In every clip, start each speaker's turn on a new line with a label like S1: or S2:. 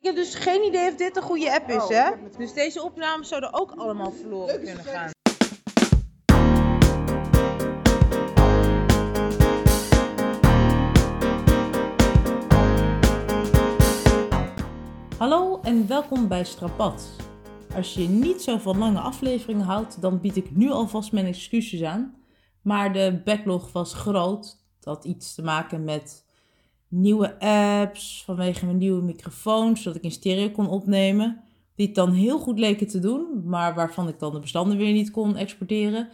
S1: Ik heb dus geen idee of dit een goede app is,
S2: Oh, ik
S1: hè?
S2: heb het-
S1: Dus deze opnames zouden ook allemaal verloren
S2: Leuk is
S1: kunnen
S2: het, leuk
S1: gaan.
S3: Hallo en welkom bij Strapat. Als je niet zo van lange afleveringen houdt, dan bied ik nu alvast mijn excuses aan. Maar de backlog was groot. Dat had iets te maken met nieuwe apps, vanwege mijn nieuwe microfoon, zodat ik in stereo kon opnemen. Die het dan heel goed leken te doen, maar waarvan ik dan de bestanden weer niet kon exporteren.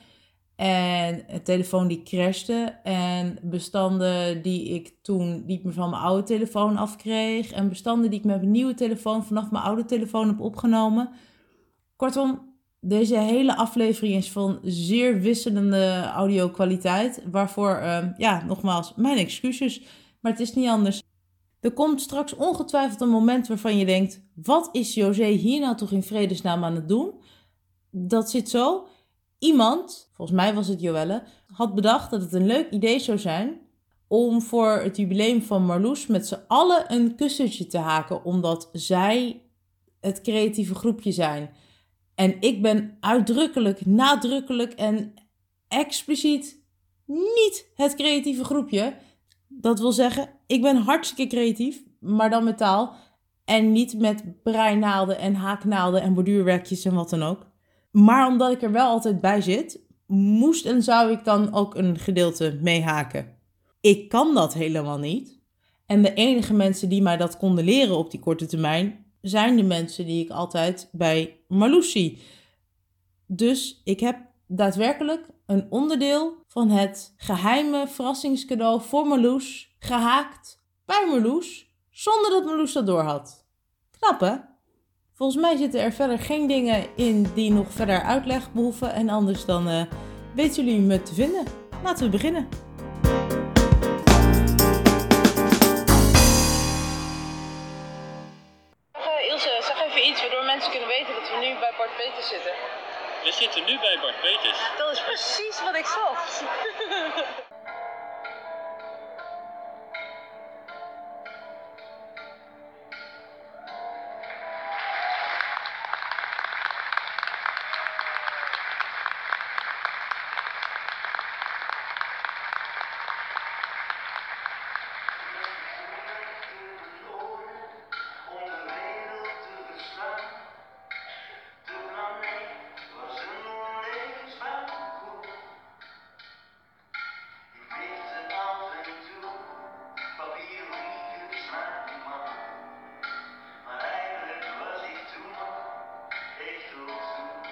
S3: En een telefoon die crashte. En bestanden die ik toen niet meer van mijn oude telefoon afkreeg. En bestanden die ik met mijn nieuwe telefoon vanaf mijn oude telefoon heb opgenomen. Kortom, deze hele aflevering is van zeer wisselende audio-kwaliteit. Waarvoor, eh, ja, nogmaals, mijn excuses. Maar het is niet anders. Er komt straks ongetwijfeld een moment waarvan je denkt: wat is José hier nou toch in vredesnaam aan het doen? Dat zit zo iemand, volgens mij was het Joelle, had bedacht dat het een leuk idee zou zijn om voor het jubileum van Marloes met z'n allen een kussentje te haken, omdat zij het creatieve groepje zijn. En ik ben uitdrukkelijk, nadrukkelijk en expliciet niet het creatieve groepje. Dat wil zeggen, ik ben hartstikke creatief, maar dan met taal en niet met breinaalden en haaknaalden en borduurwerkjes en wat dan ook. Maar omdat ik er wel altijd bij zit, moest en zou ik dan ook een gedeelte meehaken. Ik kan dat helemaal niet. En de enige mensen die mij dat konden leren op die korte termijn, zijn de mensen die ik altijd bij Marloes zie. Dus ik heb daadwerkelijk een onderdeel van het geheime verrassingscadeau voor Marloes gehaakt bij Marloes, zonder dat Marloes dat doorhad. Knap hè? Volgens mij zitten er verder geen dingen in die nog verder uitleg behoeven. En anders dan eh, weten jullie me te vinden. Laten we beginnen.
S1: Ilse, zeg even iets waardoor mensen kunnen weten dat we nu bij Bart Peters zitten.
S4: We zitten nu bij Bart Peters.
S1: Dat is precies wat ik zocht.
S5: om de wereld te verslaan. De planeet was een onleesbaar koel. Ik lichtte af en toe papier vliegers naar de maan. Maar eigenlijk was ik toen echt heel zoet.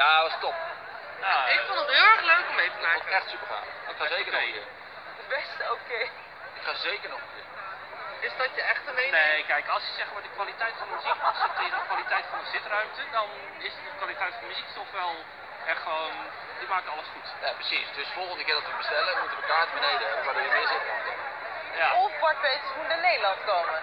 S6: Ja, dat was top. Ja,
S7: Ik vond het heel erg leuk om mee te
S6: het was
S7: maken.
S6: echt eh. super gaaf. Ik ga zeker nog een keer.
S7: Best oké.
S6: Ik ga zeker nog een keer.
S7: Is dat je echte mening?
S6: Nee, kijk, als je zeg maar de kwaliteit van de muziek afzet tegen de kwaliteit van de zitruimte, dan is de kwaliteit van de muziek toch wel echt gewoon, die maakt alles goed. Ja, precies. Dus volgende keer dat we bestellen, moeten we kaart beneden hebben, waardoor je meer zit Ja.
S7: Of Bart Peters moet naar Nederland komen.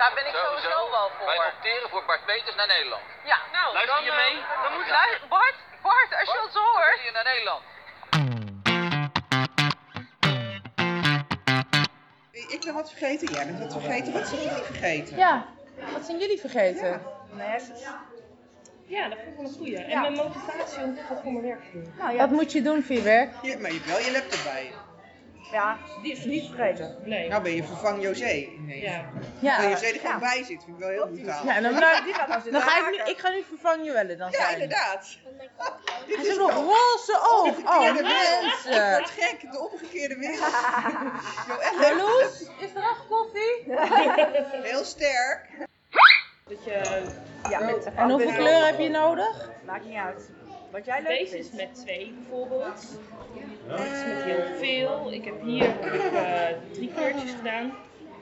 S7: Daar ben ik sowieso, wel voor.
S6: Wij opteren voor Bart Peters naar Nederland.
S7: Ja, nou,
S6: Luister
S7: dan,
S6: je
S7: eh,
S6: mee?
S7: Dan moet
S6: Ja.
S7: lui- Bart, Bart, als je
S6: Bart?
S7: ons hoort.
S6: Wil je naar Nederland?
S2: Ik ben wat vergeten, jij bent wat vergeten, wat zijn jullie vergeten?
S1: Ja, wat zijn jullie vergeten?
S8: Ja, dat vond ik wel een goeie. En
S1: Ja.
S8: mijn motivatie om dat voor mijn werk te doen.
S2: Nou
S1: Wat moet je doen voor je werk?
S2: Je- maar je hebt wel je laptop bij.
S8: Die is niet vergeten. Nee.
S2: Nou ben je vervang José. Nee.
S8: Ja.
S2: Dat
S1: Ja,
S2: José er gewoon bij zit, vind ik wel heel brutaal.
S1: ja
S2: Ja,
S1: dan,
S7: nou
S1: dan ga ik nu, ik ga nu vervangen Joelle dan zijn.
S2: inderdaad. Dit
S1: Hij
S2: is
S1: heeft nog
S2: wel-
S1: roze oog. Oh,
S2: verkeerde wereld. Ik word
S1: mensen.
S2: gek, de omgekeerde wereld. Jo, echt
S1: Marloes, is er nog koffie?
S2: heel sterk.
S9: Dat je...
S10: Ja, met de
S7: En hoeveel
S10: pakbeelden.
S7: kleur heb je nodig?
S10: Maakt niet uit. Wat jij leuk
S9: Deze is
S10: vindt.
S9: met twee bijvoorbeeld. Dit is met heel veel. Ik heb hier heb ik, eh, drie kleurtjes gedaan.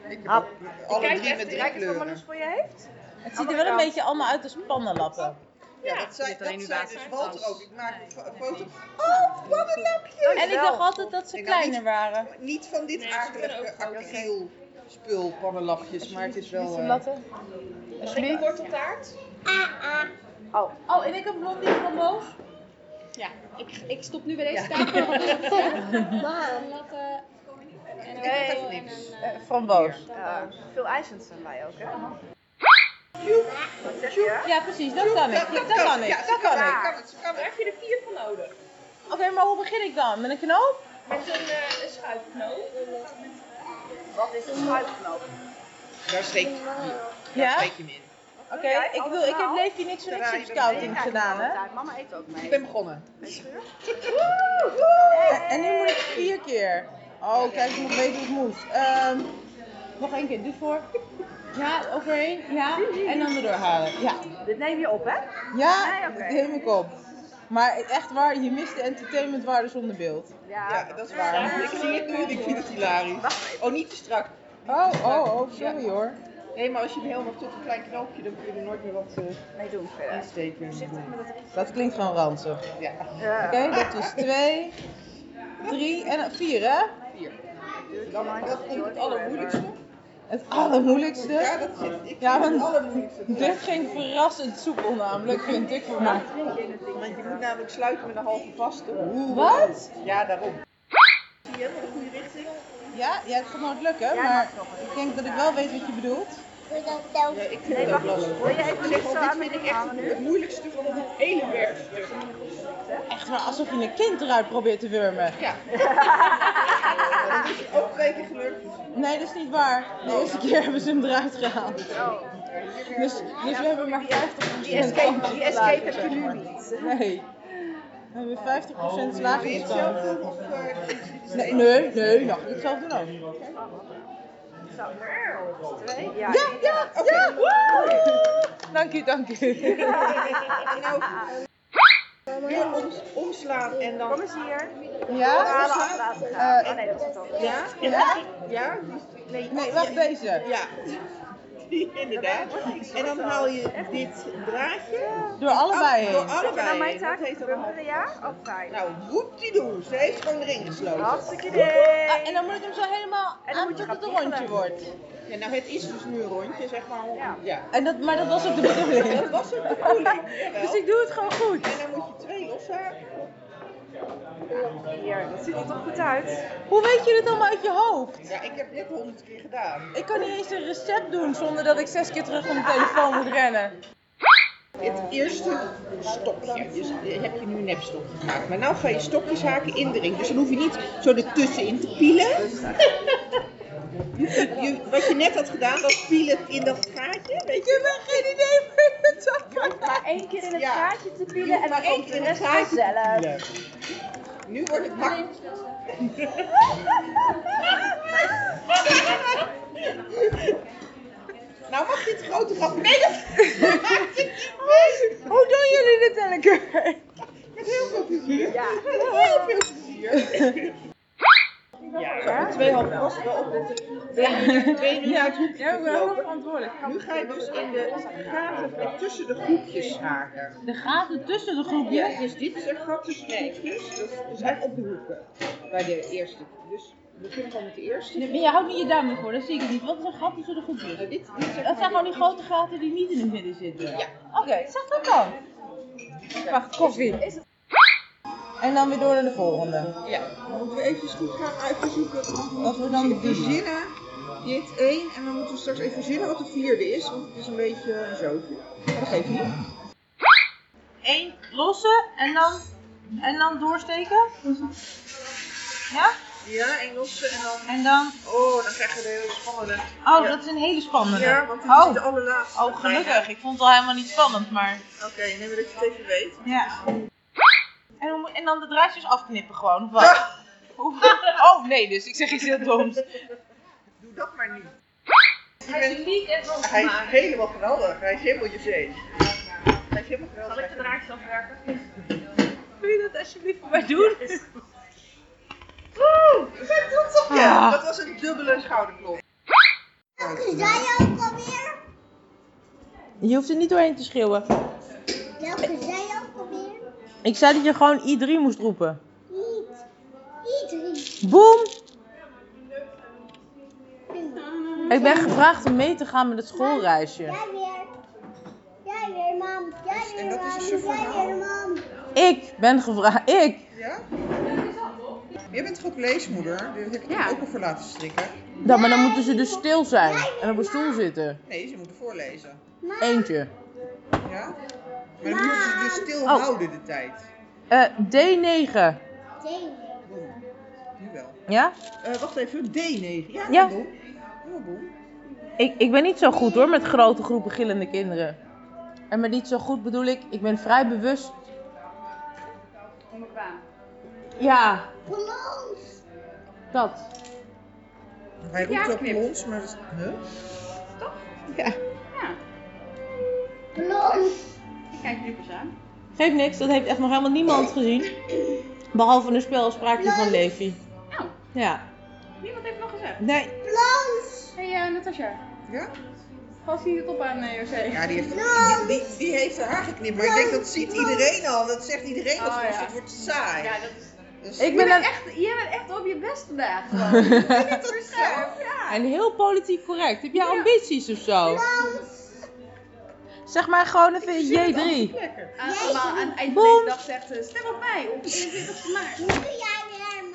S2: Ik heb
S10: Hap.
S2: ook alle
S9: Kijk
S2: drie
S9: echt-
S2: met drie
S10: Kijk eens wat Marloes
S2: kleuren.
S10: voor je heeft.
S1: Het ziet er wel een beetje allemaal uit als pannenlappen.
S2: Ja, dat zei,
S9: zit alleen
S2: dat
S9: nu
S2: zei
S9: bij
S2: dus
S9: zijn
S2: Walter
S9: tas.
S2: ook. Ik maak een fo- een foto. Oh, wat een lapje!
S1: En ik dacht altijd dat ze
S2: Ik dacht niet-
S1: kleiner waren.
S2: Niet van dit
S9: Nee, ze kunnen
S2: akelige
S9: ook groot zijn.
S2: acryl spul pannenlapjes, maar het is wel... eh,
S9: Een worteltaart.
S10: Oh,
S1: Oh, en ik heb blondie van Boos.
S11: Ja, ik, ik stop nu bij deze tafel. Een latte en een
S10: Hey.
S11: appel en een... eh,
S1: Framboos.
S10: ja. Veel IJslands zijn wij ook, hè? Wat zeg je?
S1: Ja, precies, dat kan ik. Dat kan ik.
S2: Ja,
S1: Dat kan
S2: Ze
S1: ik.
S2: kan het, ze kan het.
S9: Daar heb je er vier van nodig.
S1: Oké, maar hoe begin ik dan? Met een knoop?
S9: Met een, eh een schuifknoop.
S10: Wat is een schuifknoop?
S2: Daar steek, daar
S1: Ja?
S2: steek je hem in.
S1: Oké, ik, wil- ik heb Leefje niks van
S2: Draai je
S1: Xbox scouting
S10: Kijk,
S1: gedaan, hè?
S10: altijd. Mama eet ook mee.
S2: Ik ben begonnen.
S1: Eh, En- En nu moet ik vier keer. Oh, kijk, ik moet weten hoe het moet. Ehm, nog één keer, doe voor. Ja, overheen. Ja, en dan erdoor halen. Ja,
S10: Dit neem je op, hè?
S1: ja
S10: Nee,
S1: dat
S10: oké.
S1: neem ik op. Maar echt waar, je mist de entertainmentwaarde zonder beeld.
S2: Ja,
S10: Ja.
S2: dat is waar. Ik zie het nu en ik vind het hilarisch. Oh, niet te strak.
S1: Oh, oh, oh, sorry hoor.
S2: Nee, maar als je hem helemaal tot een klein knoopje, dan kun je er nooit meer wat eh,
S10: Mee doen verder.
S2: insteken.
S1: Dat klinkt gewoon ranzig.
S2: Ja.
S10: Ja.
S1: Oké, dat is twee, drie en vier, hè?
S2: Dan, dat vind ik het allermoeilijkste.
S1: Het allermoeilijkste.
S2: Ja, dat zit. Ik vind
S1: Ja, want-
S2: het allermoeilijkste.
S1: Dit ging verrassend soepel namelijk, vind ik voor mij.
S2: Want je moet namelijk sluiten met een halve vaste. Oeh.
S1: Wat?
S2: Ja, daarom.
S1: Ja, ja, het gaat nooit lukken,
S10: Jij
S1: maar
S10: mag nog een
S1: ik denk dat ik wel weet wat je bedoelt.
S2: Ja, ik vind
S10: Nee,
S2: het ook
S10: wacht.
S2: lastig.
S10: Wil je even niet
S2: Zeg wel,
S10: zo
S2: dit
S10: aan
S2: vind
S10: mijn
S2: ik
S10: ding
S2: echt
S10: hangen
S2: het
S10: nu?
S2: moeilijkste van het hele werkstuk.
S1: Echt waar, alsof je een kind eruit probeert te wurmen.
S2: Dat is ook twee keer gelukt.
S1: Nee, dat is niet waar. De eerste keer hebben ze hem eruit gehaald. Dus, dus we hebben maar 50%
S10: Die escape,
S1: kans
S10: die
S1: op
S10: escape heb
S1: slagen,
S10: je nu
S1: zeg
S10: niet.
S1: maar. Nee. We hebben 50%
S10: Oh,
S2: Wil je
S1: slagingskans.
S2: hetzelfde of eh, is dit
S1: Nee, nee, nee, nou, ik zal het zelf doen ook.
S10: Zo, nou, twee. Ja,
S1: Ja, ja, ja! Woe! Dank u, dank u.
S2: weer oms- omslaan en
S10: Kom
S2: dan...
S10: eens hier.
S1: Ja? Eh,
S10: Halen af laten gaan. Oh nee, dat is het ook.
S2: Ja?
S1: Ja?
S2: Ja?
S1: Nee, wacht, deze.
S2: Ja. Inderdaad. En dan haal je dit draadje.
S1: Door allebei
S2: Door
S1: heen.
S10: Is dat
S2: allebei.
S10: nou mijn
S2: heen. Dat
S10: taak?
S2: heeft dan een halve-
S10: Bumperen ja? Of fijn?
S2: Nou, goed die doen. Ze heeft gewoon erin gesloten.
S10: Hartstikke idee.
S1: Ah, en dan moet ik hem zo helemaal
S10: En dan
S1: aan
S10: moet je
S1: tot het een
S10: gaan
S1: rondje
S10: piegelen.
S1: wordt.
S2: Ja, nou, het is dus nu een rondje, zeg maar.
S10: Ja.
S2: ja.
S1: En dat, maar dat was ook de bedoeling.
S2: Dat was het bedoeling. jawel.
S1: Dus ik doe het gewoon goed.
S2: En dan moet je twee loshaken.
S10: Hier, dat ziet er toch goed uit?
S1: Hoe weet je dit allemaal uit je hoofd?
S2: Ja, ik heb dit honderd keer gedaan.
S1: Ik kan niet eens een recept doen zonder dat ik zes keer terug op mijn telefoon moet rennen.
S2: Het eerste stokje. Dus heb je nu een nepstokje gemaakt. Maar nou ga je stokjes haken in de ring. Dus dan hoef je niet zo ertussenin te pielen. Je- wat je net had gedaan, was pielen in dat gaatje. Weet
S1: Ik
S2: je?
S1: heb echt geen idee voor de tappen.
S10: Maar één keer in het
S2: Ja.
S10: gaatje te
S2: Je
S10: pielen
S2: hoeft
S10: en
S2: maar
S10: één
S2: gewoon
S10: keer in het
S2: gaatje te
S10: zelf.
S2: pielen. Nu wordt het makkelijk. Nou mag je het grote grapje. Nee, dat maakt het niet mee.
S1: Hoe doen jullie dit elke keer?
S2: Met heel veel plezier.
S10: Ja.
S2: Met heel veel plezier. Ja, met twee handen vast wel op het twee nu naar het hoekje
S1: Ja, ik ben ook
S2: gelopen.
S1: nog verantwoordelijk.
S2: Nu ga je dus in de gaten en tussen de groepjes haken.
S1: De gaten tussen de
S2: Ja,
S1: groepjes.
S2: dus dit is een gat tussen de groepjes. Dus we zijn op de hoeken bij de eerste. Dus we kunnen gewoon met de eerste.
S1: Maar je houdt niet je duim ervoor, dat zie ik het niet. Wat is een gat tussen de groepjes?
S2: Nou, dit, dit zeg
S1: Dat zijn
S2: maar
S1: gewoon die grote gaten die niet in het midden zitten.
S2: Ja.
S1: Oké, zeg dat dan. Wacht, koffie. En dan weer door naar de volgende.
S2: Ja, dan moeten we even goed gaan uitzoeken.
S1: Wat we dan doen.
S2: verzinnen. Dit één. En dan moeten we straks even verzinnen wat de vierde is. Want het is een beetje een zootje. Maar dat geeft niet.
S1: Eén lossen en dan, en dan doorsteken. Ja?
S2: Ja, één losse en dan...
S1: En dan.
S2: Oh, dan krijgen we de hele spannende.
S1: Oh,
S2: Ja.
S1: dat is een hele spannende.
S2: Ja, want dit is de
S1: oh.
S2: allerlaatste.
S1: oh, gelukkig. Ik vond het al helemaal niet spannend, maar.
S2: Oké, neem maar dat je het even weet.
S1: Ja. En, hoe moet- en dan de draadjes afknippen gewoon, of wat? Hoe- Oh nee, dus ik zeg iets heel doms.
S2: Doe dat maar niet. Je bent-
S8: uniek en van
S2: Hij is helemaal geweldig. Hij is helemaal je zee. Hij is helemaal geweldig.
S8: Zal ik de draadjes afwerken?
S2: Wil je dat alsjeblieft voor mij
S8: doen?
S2: Woe! Ik ben trots op je!
S8: Ah.
S2: Dat was een dubbele schouderklop.
S10: Zij ook alweer?
S1: Je hoeft er niet doorheen te schreeuwen.
S10: Welke zij ook alweer?
S1: Ik zei dat je gewoon I3 moest roepen.
S10: Niet. Iedereen.
S1: Boom! Ik ben gevraagd om mee te gaan met het schoolreisje.
S10: Jij weer. Jij weer, mam. Jij weer, mam. Jij weer, mam.
S1: Ik ben gevraagd. Ik!
S2: Ja? Je bent toch ook leesmoeder? Daar heb ik ja. ook al voor laten strikken.
S1: Ja, maar dan moeten ze dus stil zijn en op een stoel zitten.
S2: Nee, ze moeten voorlezen.
S1: Eentje.
S2: Ja? Maar dan moeten ze dus stil
S1: Oh.
S2: houden de tijd.
S1: Eh, D9.
S2: Boem. Nu wel.
S1: Ja?
S2: Eh, wacht even, D9. Ja,
S1: Ja.
S2: boem. Ja, boem.
S1: Ik, ik ben niet zo goed hoor met grote groepen gillende kinderen. En met niet zo goed bedoel ik, ik ben vrij bewust.
S8: Onbekwaam.
S1: Ja,
S10: Close.
S1: dat.
S2: Hij
S8: Ja,
S2: roept ook
S8: knip.
S2: op ons, maar... dat is- Huh?
S10: Close.
S8: Ik kijk nu eens aan.
S1: Geeft niks, dat heeft echt nog helemaal niemand gezien. Behalve een spelafspraakje van Levi.
S8: Oh.
S1: Ja.
S8: Niemand heeft nog gezegd.
S1: Nee.
S10: Close.
S8: Hé hey, eh, Natasja,
S2: Ja?
S8: pas niet het op aan eh José.
S2: Ja, die heeft,
S10: Close.
S2: die, die, die heeft haar haar geknipt, maar ik denk dat ziet iedereen al. Dat zegt iedereen als
S8: Oh,
S2: het
S8: ja.
S2: het wordt saai.
S8: Ja, dat is...
S2: Dus-
S1: Ik
S8: Je
S1: ben
S8: bent,
S1: een-
S8: echt, je bent echt op je best vandaag. gewoon. Je bent echt scherp, ja.
S1: En heel politiek correct. Heb jij
S8: Ja.
S1: ambities of zo? Zeg maar gewoon even J3.
S8: Aan, allemaal Ah, aan het eind van
S1: Boem.
S8: deze dag zegt ze, stem op mij op 21 maart.
S10: Nu doe jij weer,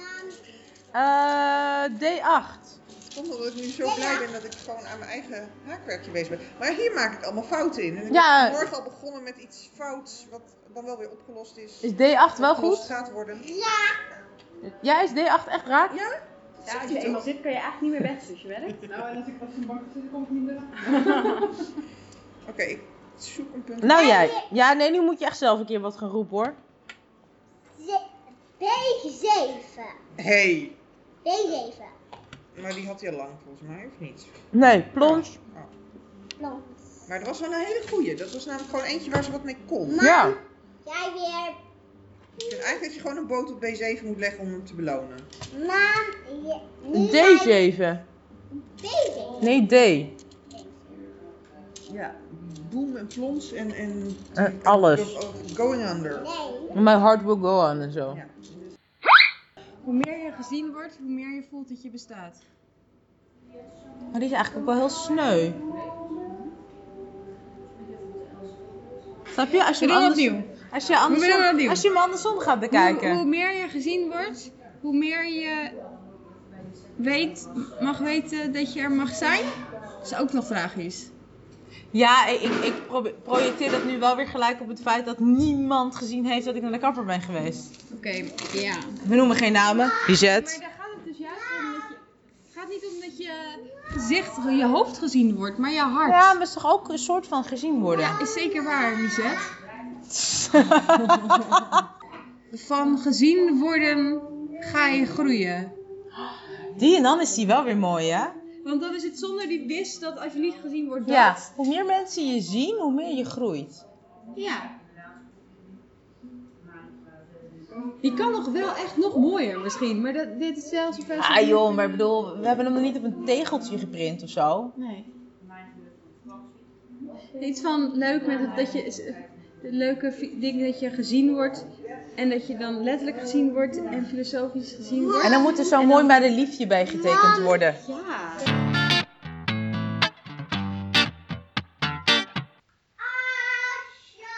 S10: mam.
S1: Eh, D8.
S2: Het komt omdat ik nu zo blij ben dat ik gewoon aan mijn eigen haakwerkje bezig ben. Maar hier maak ik allemaal fouten in. En ik
S1: Ja.
S2: ben morgen al begonnen met iets fouts, wat dan wel weer opgelost is.
S1: Is D8 wel
S2: Opgelost
S1: goed?
S2: gaat worden.
S1: Ja, is D8 echt raak?
S2: Ja?
S8: Ja, als je eenmaal zit, kan je eigenlijk niet meer weg, dus je werkt.
S2: Oké, ik zoek een punt.
S1: Nou jij. Ja, nee, nu moet je echt zelf een keer wat gaan roepen hoor.
S10: Ze- B7.
S2: Hey,
S10: B7.
S2: maar die had hij al lang volgens mij, of niet?
S1: Nee, plons.
S10: Close.
S2: Maar er was wel een hele goeie. Dat was namelijk gewoon eentje waar ze wat mee kon.
S10: Mam.
S1: Ja.
S10: Jij weer.
S2: Ik vind Dus eigenlijk dat je gewoon een boot op B7 moet leggen om hem te belonen.
S10: Mam. Je, nu jij-
S1: D7.
S10: B7.
S1: Nee, D.
S2: Ja, boom en plons en... en
S1: Eh, alles.
S2: Going under.
S10: Nee.
S1: My heart will go on en zo.
S2: Ja.
S8: Hoe meer je gezien wordt, hoe meer je voelt dat je bestaat.
S1: Maar die is eigenlijk ook wel heel sneu. Snap je? Als je hem
S8: Doe
S1: anders-
S8: opnieuw.
S1: Als je, andersom,
S8: opnieuw.
S1: als je hem andersom gaat
S8: Hoe, hoe
S1: bekijken.
S8: meer je gezien wordt, hoe meer je weet, mag weten dat je er mag zijn, is ook nog tragisch.
S1: Ja, ik, ik, ik probe- projecteer dat nu wel weer gelijk op het feit dat niemand gezien heeft dat ik naar de kapper ben geweest.
S8: Oké, ja.
S1: We noemen geen namen.
S8: Maar
S1: Lisette.
S8: daar gaat het dus juist om dat je... Het gaat niet om dat je gezicht, je hoofd gezien wordt, maar je hart.
S1: Ja, maar is toch ook een soort van gezien worden?
S8: Ja, is zeker waar, Lisette. Van gezien worden ga je groeien.
S1: Die en dan is die wel weer mooi, hè?
S8: Want dan is het zonder die wist dat als je niet gezien wordt, dat...
S1: Ja. Hoe meer mensen je zien, hoe meer je groeit.
S8: Ja. Die kan nog wel echt nog mooier misschien, maar dat, dit is zelfs een versie-
S1: Ah joh, maar ik bedoel, we hebben hem nog niet op een tegeltje geprint of zo.
S8: Nee. Iets van leuk met het, dat je het leuke fi- ding dat je gezien wordt en dat je dan letterlijk gezien wordt en filosofisch gezien wordt.
S1: En dan moet er zo mooi bij de liefje bij getekend worden.
S8: Ja.
S10: Asje.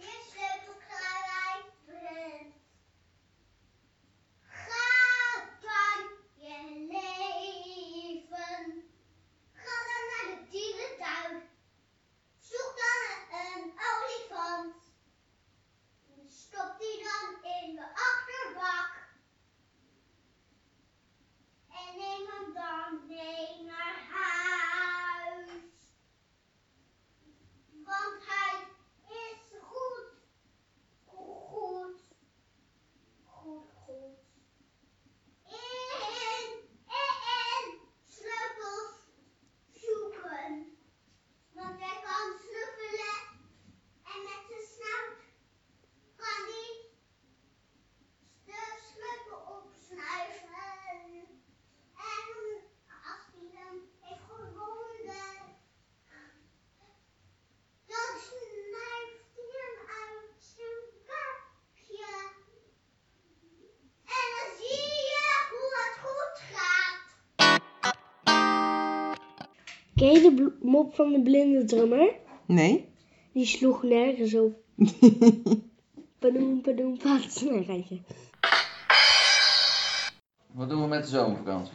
S10: Is het een klein prins? Ga van je leven. Ga dan naar de dierentuin. Zoek dan een olifant. Stop die dan in de achterbak. En neem hem dan
S12: Ken je de bl- mop van de blinde drummer?
S13: Nee?
S12: Die sloeg nergens op. Padoem, padoem, pat. Nee, geintje.
S14: Wat doen we met de zomervakantie?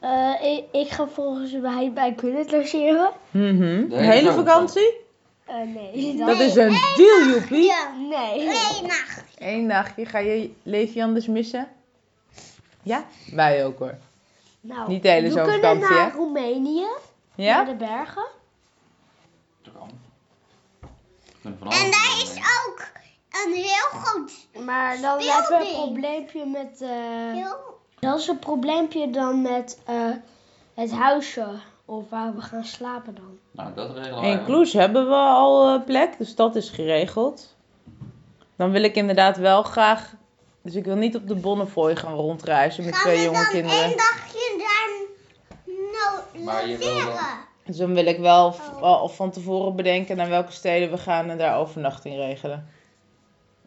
S12: Eh, ik, ik ga volgens mij bij Gullit logeren.
S3: Mhm.
S14: De
S3: De hele
S14: zomer.
S3: vakantie?
S12: Eh, nee.
S3: Dat is een deal, joepie.
S12: Nee. Nee, nacht.
S3: Eén dagje. Ga je Levi anders missen? Ja? Wij ook hoor.
S12: Nou,
S3: Niet de hele
S12: We kunnen
S3: zomervakantie,
S12: naar
S3: hè?
S12: Roemenië.
S3: Ja?
S12: Naar de bergen.
S14: En
S10: daar is ook een heel groot.
S12: Maar dan
S10: Speelding.
S12: hebben we een probleempje met... eh dat is een probleempje dan met eh, het huisje. Of waar we gaan slapen dan.
S14: Nou, dat regelen we.
S3: In Kloes hebben we al eh, plek, dus dat is geregeld. Dan wil ik inderdaad wel graag... Dus ik wil niet op de Bonnefoy gaan rondreizen met twee jonge kinderen.
S10: Eén dagje daar no
S14: Maar je wil dan...
S3: Dus dan wil ik wel v- al al van tevoren bedenken naar welke steden we gaan en daar overnachting regelen.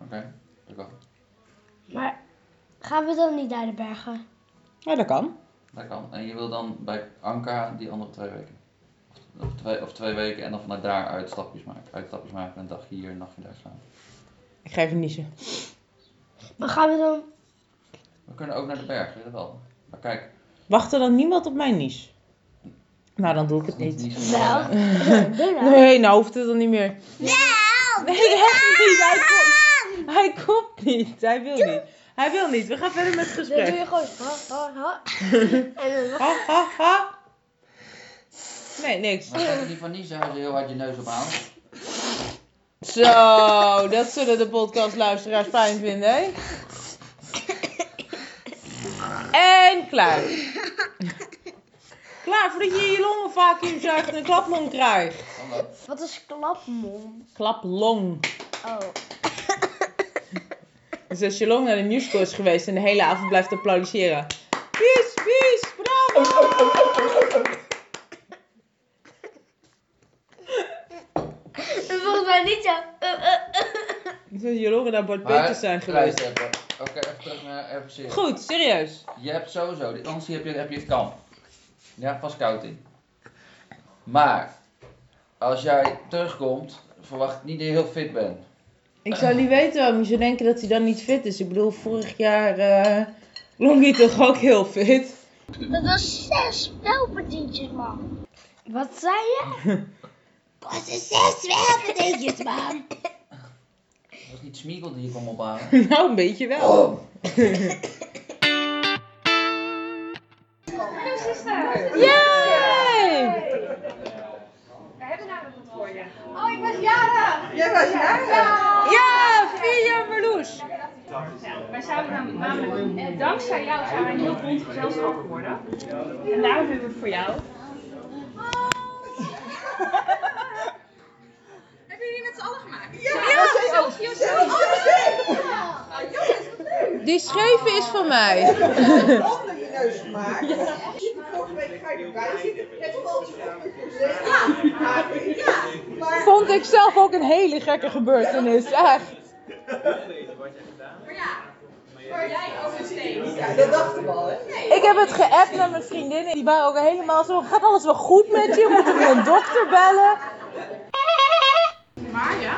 S14: Oké, dat kan.
S12: Maar gaan we dan niet naar de bergen?
S3: Ja, dat kan.
S14: Dat kan. En je wil dan bij Anka die andere twee weken. Of twee, of twee weken en dan vanuit daar uitstapjes maken. Uitstapjes maken, een dagje hier, een nachtje daar slaan.
S3: Ik ga even niezen.
S12: Maar gaan we dan...
S14: We kunnen ook naar de bergen, dat wel. Maar kijk,
S3: Wacht er dan niemand op mijn nies? Nou, dan doe ik het niet.
S12: Nou,
S3: Nee, nou hoeft het dan niet meer. Nee, echt niet. Hij komt, hij komt niet. Hij wil niet. Hij wil niet. We gaan verder met het
S12: Dan doe je
S3: gesprek.
S12: gewoon... Ha, ha, ha. en dan...
S3: Ha, ha, ha. Nee, niks.
S14: maar kijk, die van Nisa als je heel hard je neus op haalt.
S3: Zo, dat zullen de podcastluisteraars fijn vinden, hè? En klaar. Klaar, voordat je je longen vacuüm zuigt en een klaplong krijgt.
S12: Wat is klapmom?
S3: Klaplong.
S12: Oh.
S3: Dus als je long naar de musical is geweest en de hele avond blijft applaudisseren. Pies, pies, bravo!
S12: Volgens mij niet zo.
S3: Dus als je longen naar Bart Peters zijn geweest.
S14: luister even. Oké, even terug naar even serieus.
S3: Goed, serieus.
S14: Je hebt sowieso, die anders heb je, heb je het kamp. Ja, vast koud in. Maar, als jij terugkomt, verwacht niet dat je heel fit bent.
S3: Ik zou niet weten waarom je zou denken dat hij dan niet fit is. Ik bedoel, vorig jaar eh Longy toch ook heel fit.
S10: Dat was zes spelpartietjes, man.
S12: Wat zei je?
S10: Dat is zes spelpartietjes, man.
S14: Dat was niet Smiegel die je kwam ophalen.
S3: nou, een beetje wel. Yay!
S8: We hebben namelijk wat voor je.
S10: Oh, ik was jarig.
S8: Jij was jarig? Ja.
S3: Ja, vier jaar verloes.
S8: Ja, wij zouden namelijk, namelijk eh, dankzij jou zijn wij een heel bond gezelschap geworden. En daarom hebben we het voor jou.
S10: Hebben jullie met z'n allen gemaakt?
S8: Ja. Ja.
S10: Oh, jongens,
S3: Die scheven is van mij.
S2: Onder je neus gemaakt. Vorige week ga je erbij zitten. Net valt je onder je neus. Maar, ja, maar...
S3: Vond ik zelf ook een hele gekke gebeurtenis, echt.
S10: Maar ja. Maar jij ook nog steeds.
S2: Ja, dat dachten we al, hè?
S3: Ik heb het geappt naar mijn vriendinnen. Die waren ook helemaal zo, gaat alles wel goed met je? Moeten we een dokter bellen?
S8: Maar ja.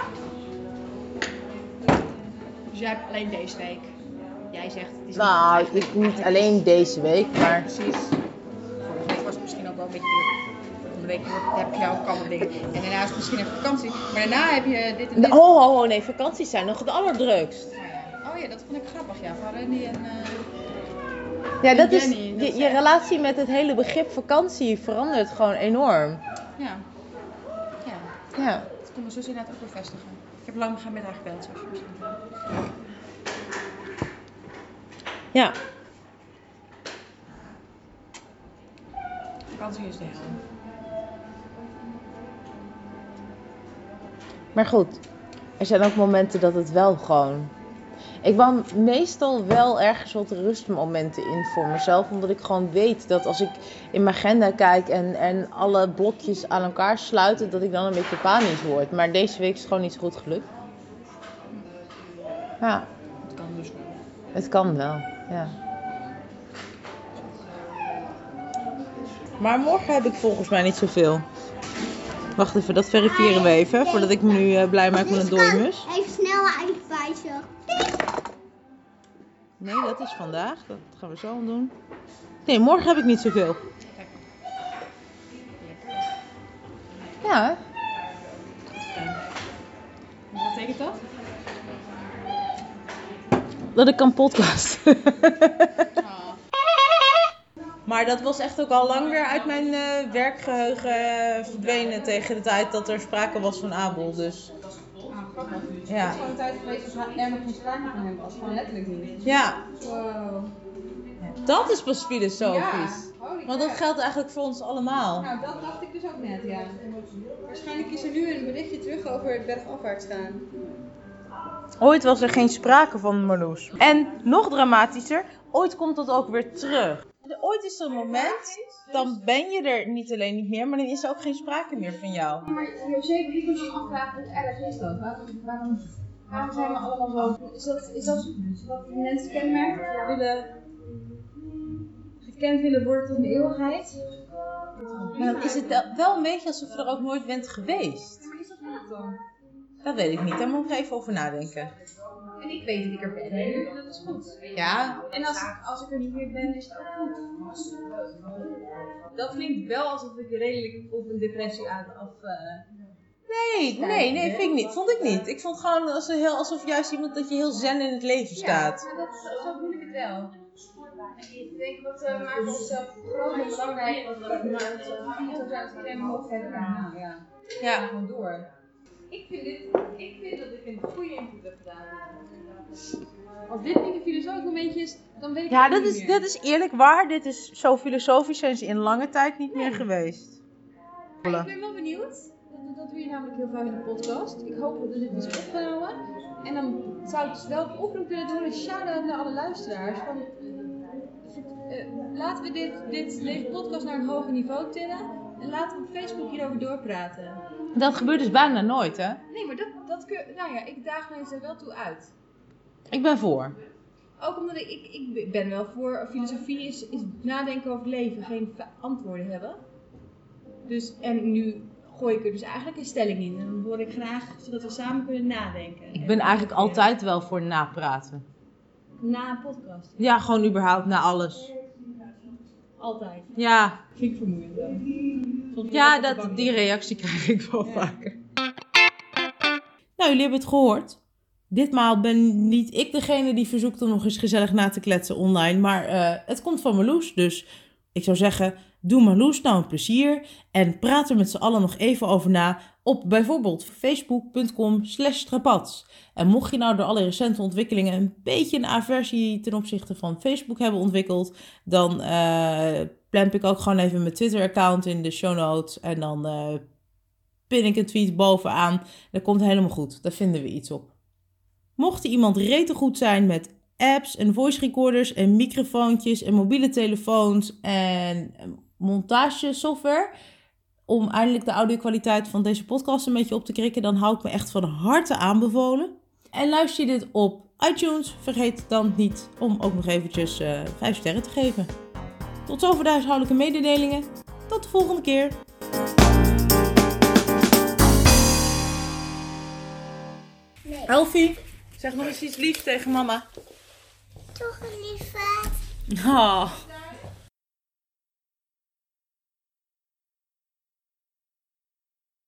S8: Dus jij hebt alleen deze week. Jij zegt het is
S3: Nou, ik niet alleen deze week, maar...
S8: precies. Vorige week was het misschien ook wel een beetje druk. Van de week heb je ook allemaal dingen. En daarna is het misschien even vakantie. Maar daarna heb je dit en dit.
S3: Oh, oh, oh, nee, vakanties zijn nog het allerdrukst.
S8: Oh ja, dat vond ik grappig. Ja, van Randy en... eh,
S3: Ja,
S8: en
S3: dat is,
S8: Jenny, dat
S3: je, je
S8: zij-
S3: relatie met het hele begrip vakantie verandert gewoon enorm.
S8: Ja. Ja.
S3: Ja.
S8: Dat kon mijn zus inderdaad ook bevestigen. Ik heb lang gaan met haar gebeld, zoals je misschien weet.
S3: Ja.
S8: Vakantie is de hel.
S3: Maar goed, er zijn ook momenten dat het wel gewoon. Ik wou meestal wel ergens wat rustmomenten in voor mezelf. Omdat ik gewoon weet dat als ik in mijn agenda kijk en, en alle blokjes aan elkaar sluiten, dat ik dan een beetje panisch word. Maar deze week is het gewoon niet zo goed gelukt. Ja,
S8: Dat kan dus wel.
S3: het kan wel. Ja. Maar morgen heb ik volgens mij niet zoveel. Wacht even, dat verifiëren we even. Voordat ik me nu eh, blij maak met een dooimus.
S10: Even snel uitwijzen.
S3: Nee, dat is vandaag. Dat gaan we zo doen. Nee, morgen heb ik niet zoveel. Ja.
S15: Wat betekent dat?
S3: Dat ik kan podcast. Maar dat was echt ook al lang weer uit mijn eh, werkgeheugen eh, verdwenen tegen de tijd dat er sprake was van Abel. Dus Ja.
S8: Het is gewoon een tijd geweest dat er nog geen sprake van hem was. Gewoon letterlijk niet.
S3: Ja.
S8: Wow.
S3: dat is pas filosofisch.
S8: Ja, holy
S3: Want dat
S8: crap.
S3: geldt eigenlijk voor ons allemaal.
S8: Nou, dat dacht ik dus ook net, ja. Waarschijnlijk is er nu een berichtje terug over het bergafwaarts gaan.
S3: Ooit was er geen sprake van Marloes. En nog dramatischer, ooit komt dat ook weer terug. Ooit is er een moment, dan ben je er niet alleen niet meer, maar dan is er ook geen sprake meer van jou.
S8: Maar José, die moet zich afvragen hoe erg is dat? Waarom, waarom, waarom zijn we allemaal zo... Is dat, is dat wat mensen kenmerkt? Willen... Gekend willen worden tot een eeuwigheid?
S3: Maar dan is het wel- wel een beetje alsof je er ook nooit bent geweest.
S8: Maar is dat goed dan?
S3: Dat weet ik niet, daar moet ik even over nadenken.
S8: En ik weet dat ik er ben, hè? dat is goed.
S3: Ja.
S8: En als, ik- als ik er niet meer ben, is het ook goed. Dat klinkt wel alsof ik redelijk op een depressie aan eh, af...
S3: Nee, nee, nee, vind ik niet. Vond ik niet. Ik vond gewoon als een heel, alsof juist iemand dat je heel zen in het leven staat.
S8: Ja, maar dat, zo voel ik het wel. Ik denk dat eh, we maken onszelf groot en belangrijk, want we maken onszelf niet tot aan het crème hoofd verder aan. Ja.
S3: Ja.
S8: Gewoon door. Ik vind, dit, ik vind dat ik een goede input heb gedaan. Als dit niet een filosofisch momentje is, dan weet ik
S3: Ja,
S8: het
S3: dat
S8: niet
S3: is,
S8: meer.
S3: dat is eerlijk waar. Dit is zo filosofisch zijn ze in lange tijd niet meer geweest.
S8: Maar ik ben wel benieuwd. Dat, dat doe je namelijk heel vaak in de podcast. Ik hoop dat dit is opgenomen. En dan zou ik dus wel een oproep willen doen. Een shout-out naar alle luisteraars. Van, eh, laten we dit, dit, deze podcast naar een hoger niveau tillen. En laten we op Facebook hierover doorpraten.
S3: Dat gebeurt dus bijna nooit, hè?
S8: Nee, maar dat, dat kun Nou ja, ik daag mensen er wel toe uit.
S3: Ik ben voor.
S8: Ook omdat ik, ik, ik ben wel voor filosofie is, is nadenken over het leven, geen fa- antwoorden hebben. Dus, en nu gooi ik er dus eigenlijk een stelling in. En dan hoor ik graag, zodat we samen kunnen nadenken.
S3: Ik ben eigenlijk altijd wel voor napraten.
S8: Na een podcast.
S3: Ja, gewoon überhaupt na alles.
S8: Altijd.
S3: Ja,
S8: Vind ik vermoeiend dan.
S3: ja dat, die reactie krijg ik wel vaker. Nou, jullie hebben het gehoord. Ditmaal ben niet ik degene die verzoekt om nog eens gezellig na te kletsen online. Maar eh, het komt van Marloes. Dus ik zou zeggen, doe Marloes nou een plezier. En praat er met z'n allen nog even over na op bijvoorbeeld facebook.com slash trapats. En mocht je nou door alle recente ontwikkelingen een beetje een aversie ten opzichte van Facebook hebben ontwikkeld, dan eh plemp ik ook gewoon even mijn Twitter-account in de show notes. En dan eh, pin ik een tweet bovenaan. Dat komt helemaal goed. Daar vinden we iets op. Mocht er iemand rete goed zijn met apps en voice recorders en microfoontjes en mobiele telefoons en montagesoftware. Om eindelijk de audio-kwaliteit van deze podcast een beetje op te krikken, dan hou ik me echt van harte aanbevolen. En luister je dit op iTunes, vergeet dan niet om ook nog eventjes eh 5 sterren te geven. Tot zover de huishoudelijke mededelingen. Tot de volgende keer. Elfie, zeg nog eens iets liefs tegen mama.
S10: Toch liefde.
S3: Oh.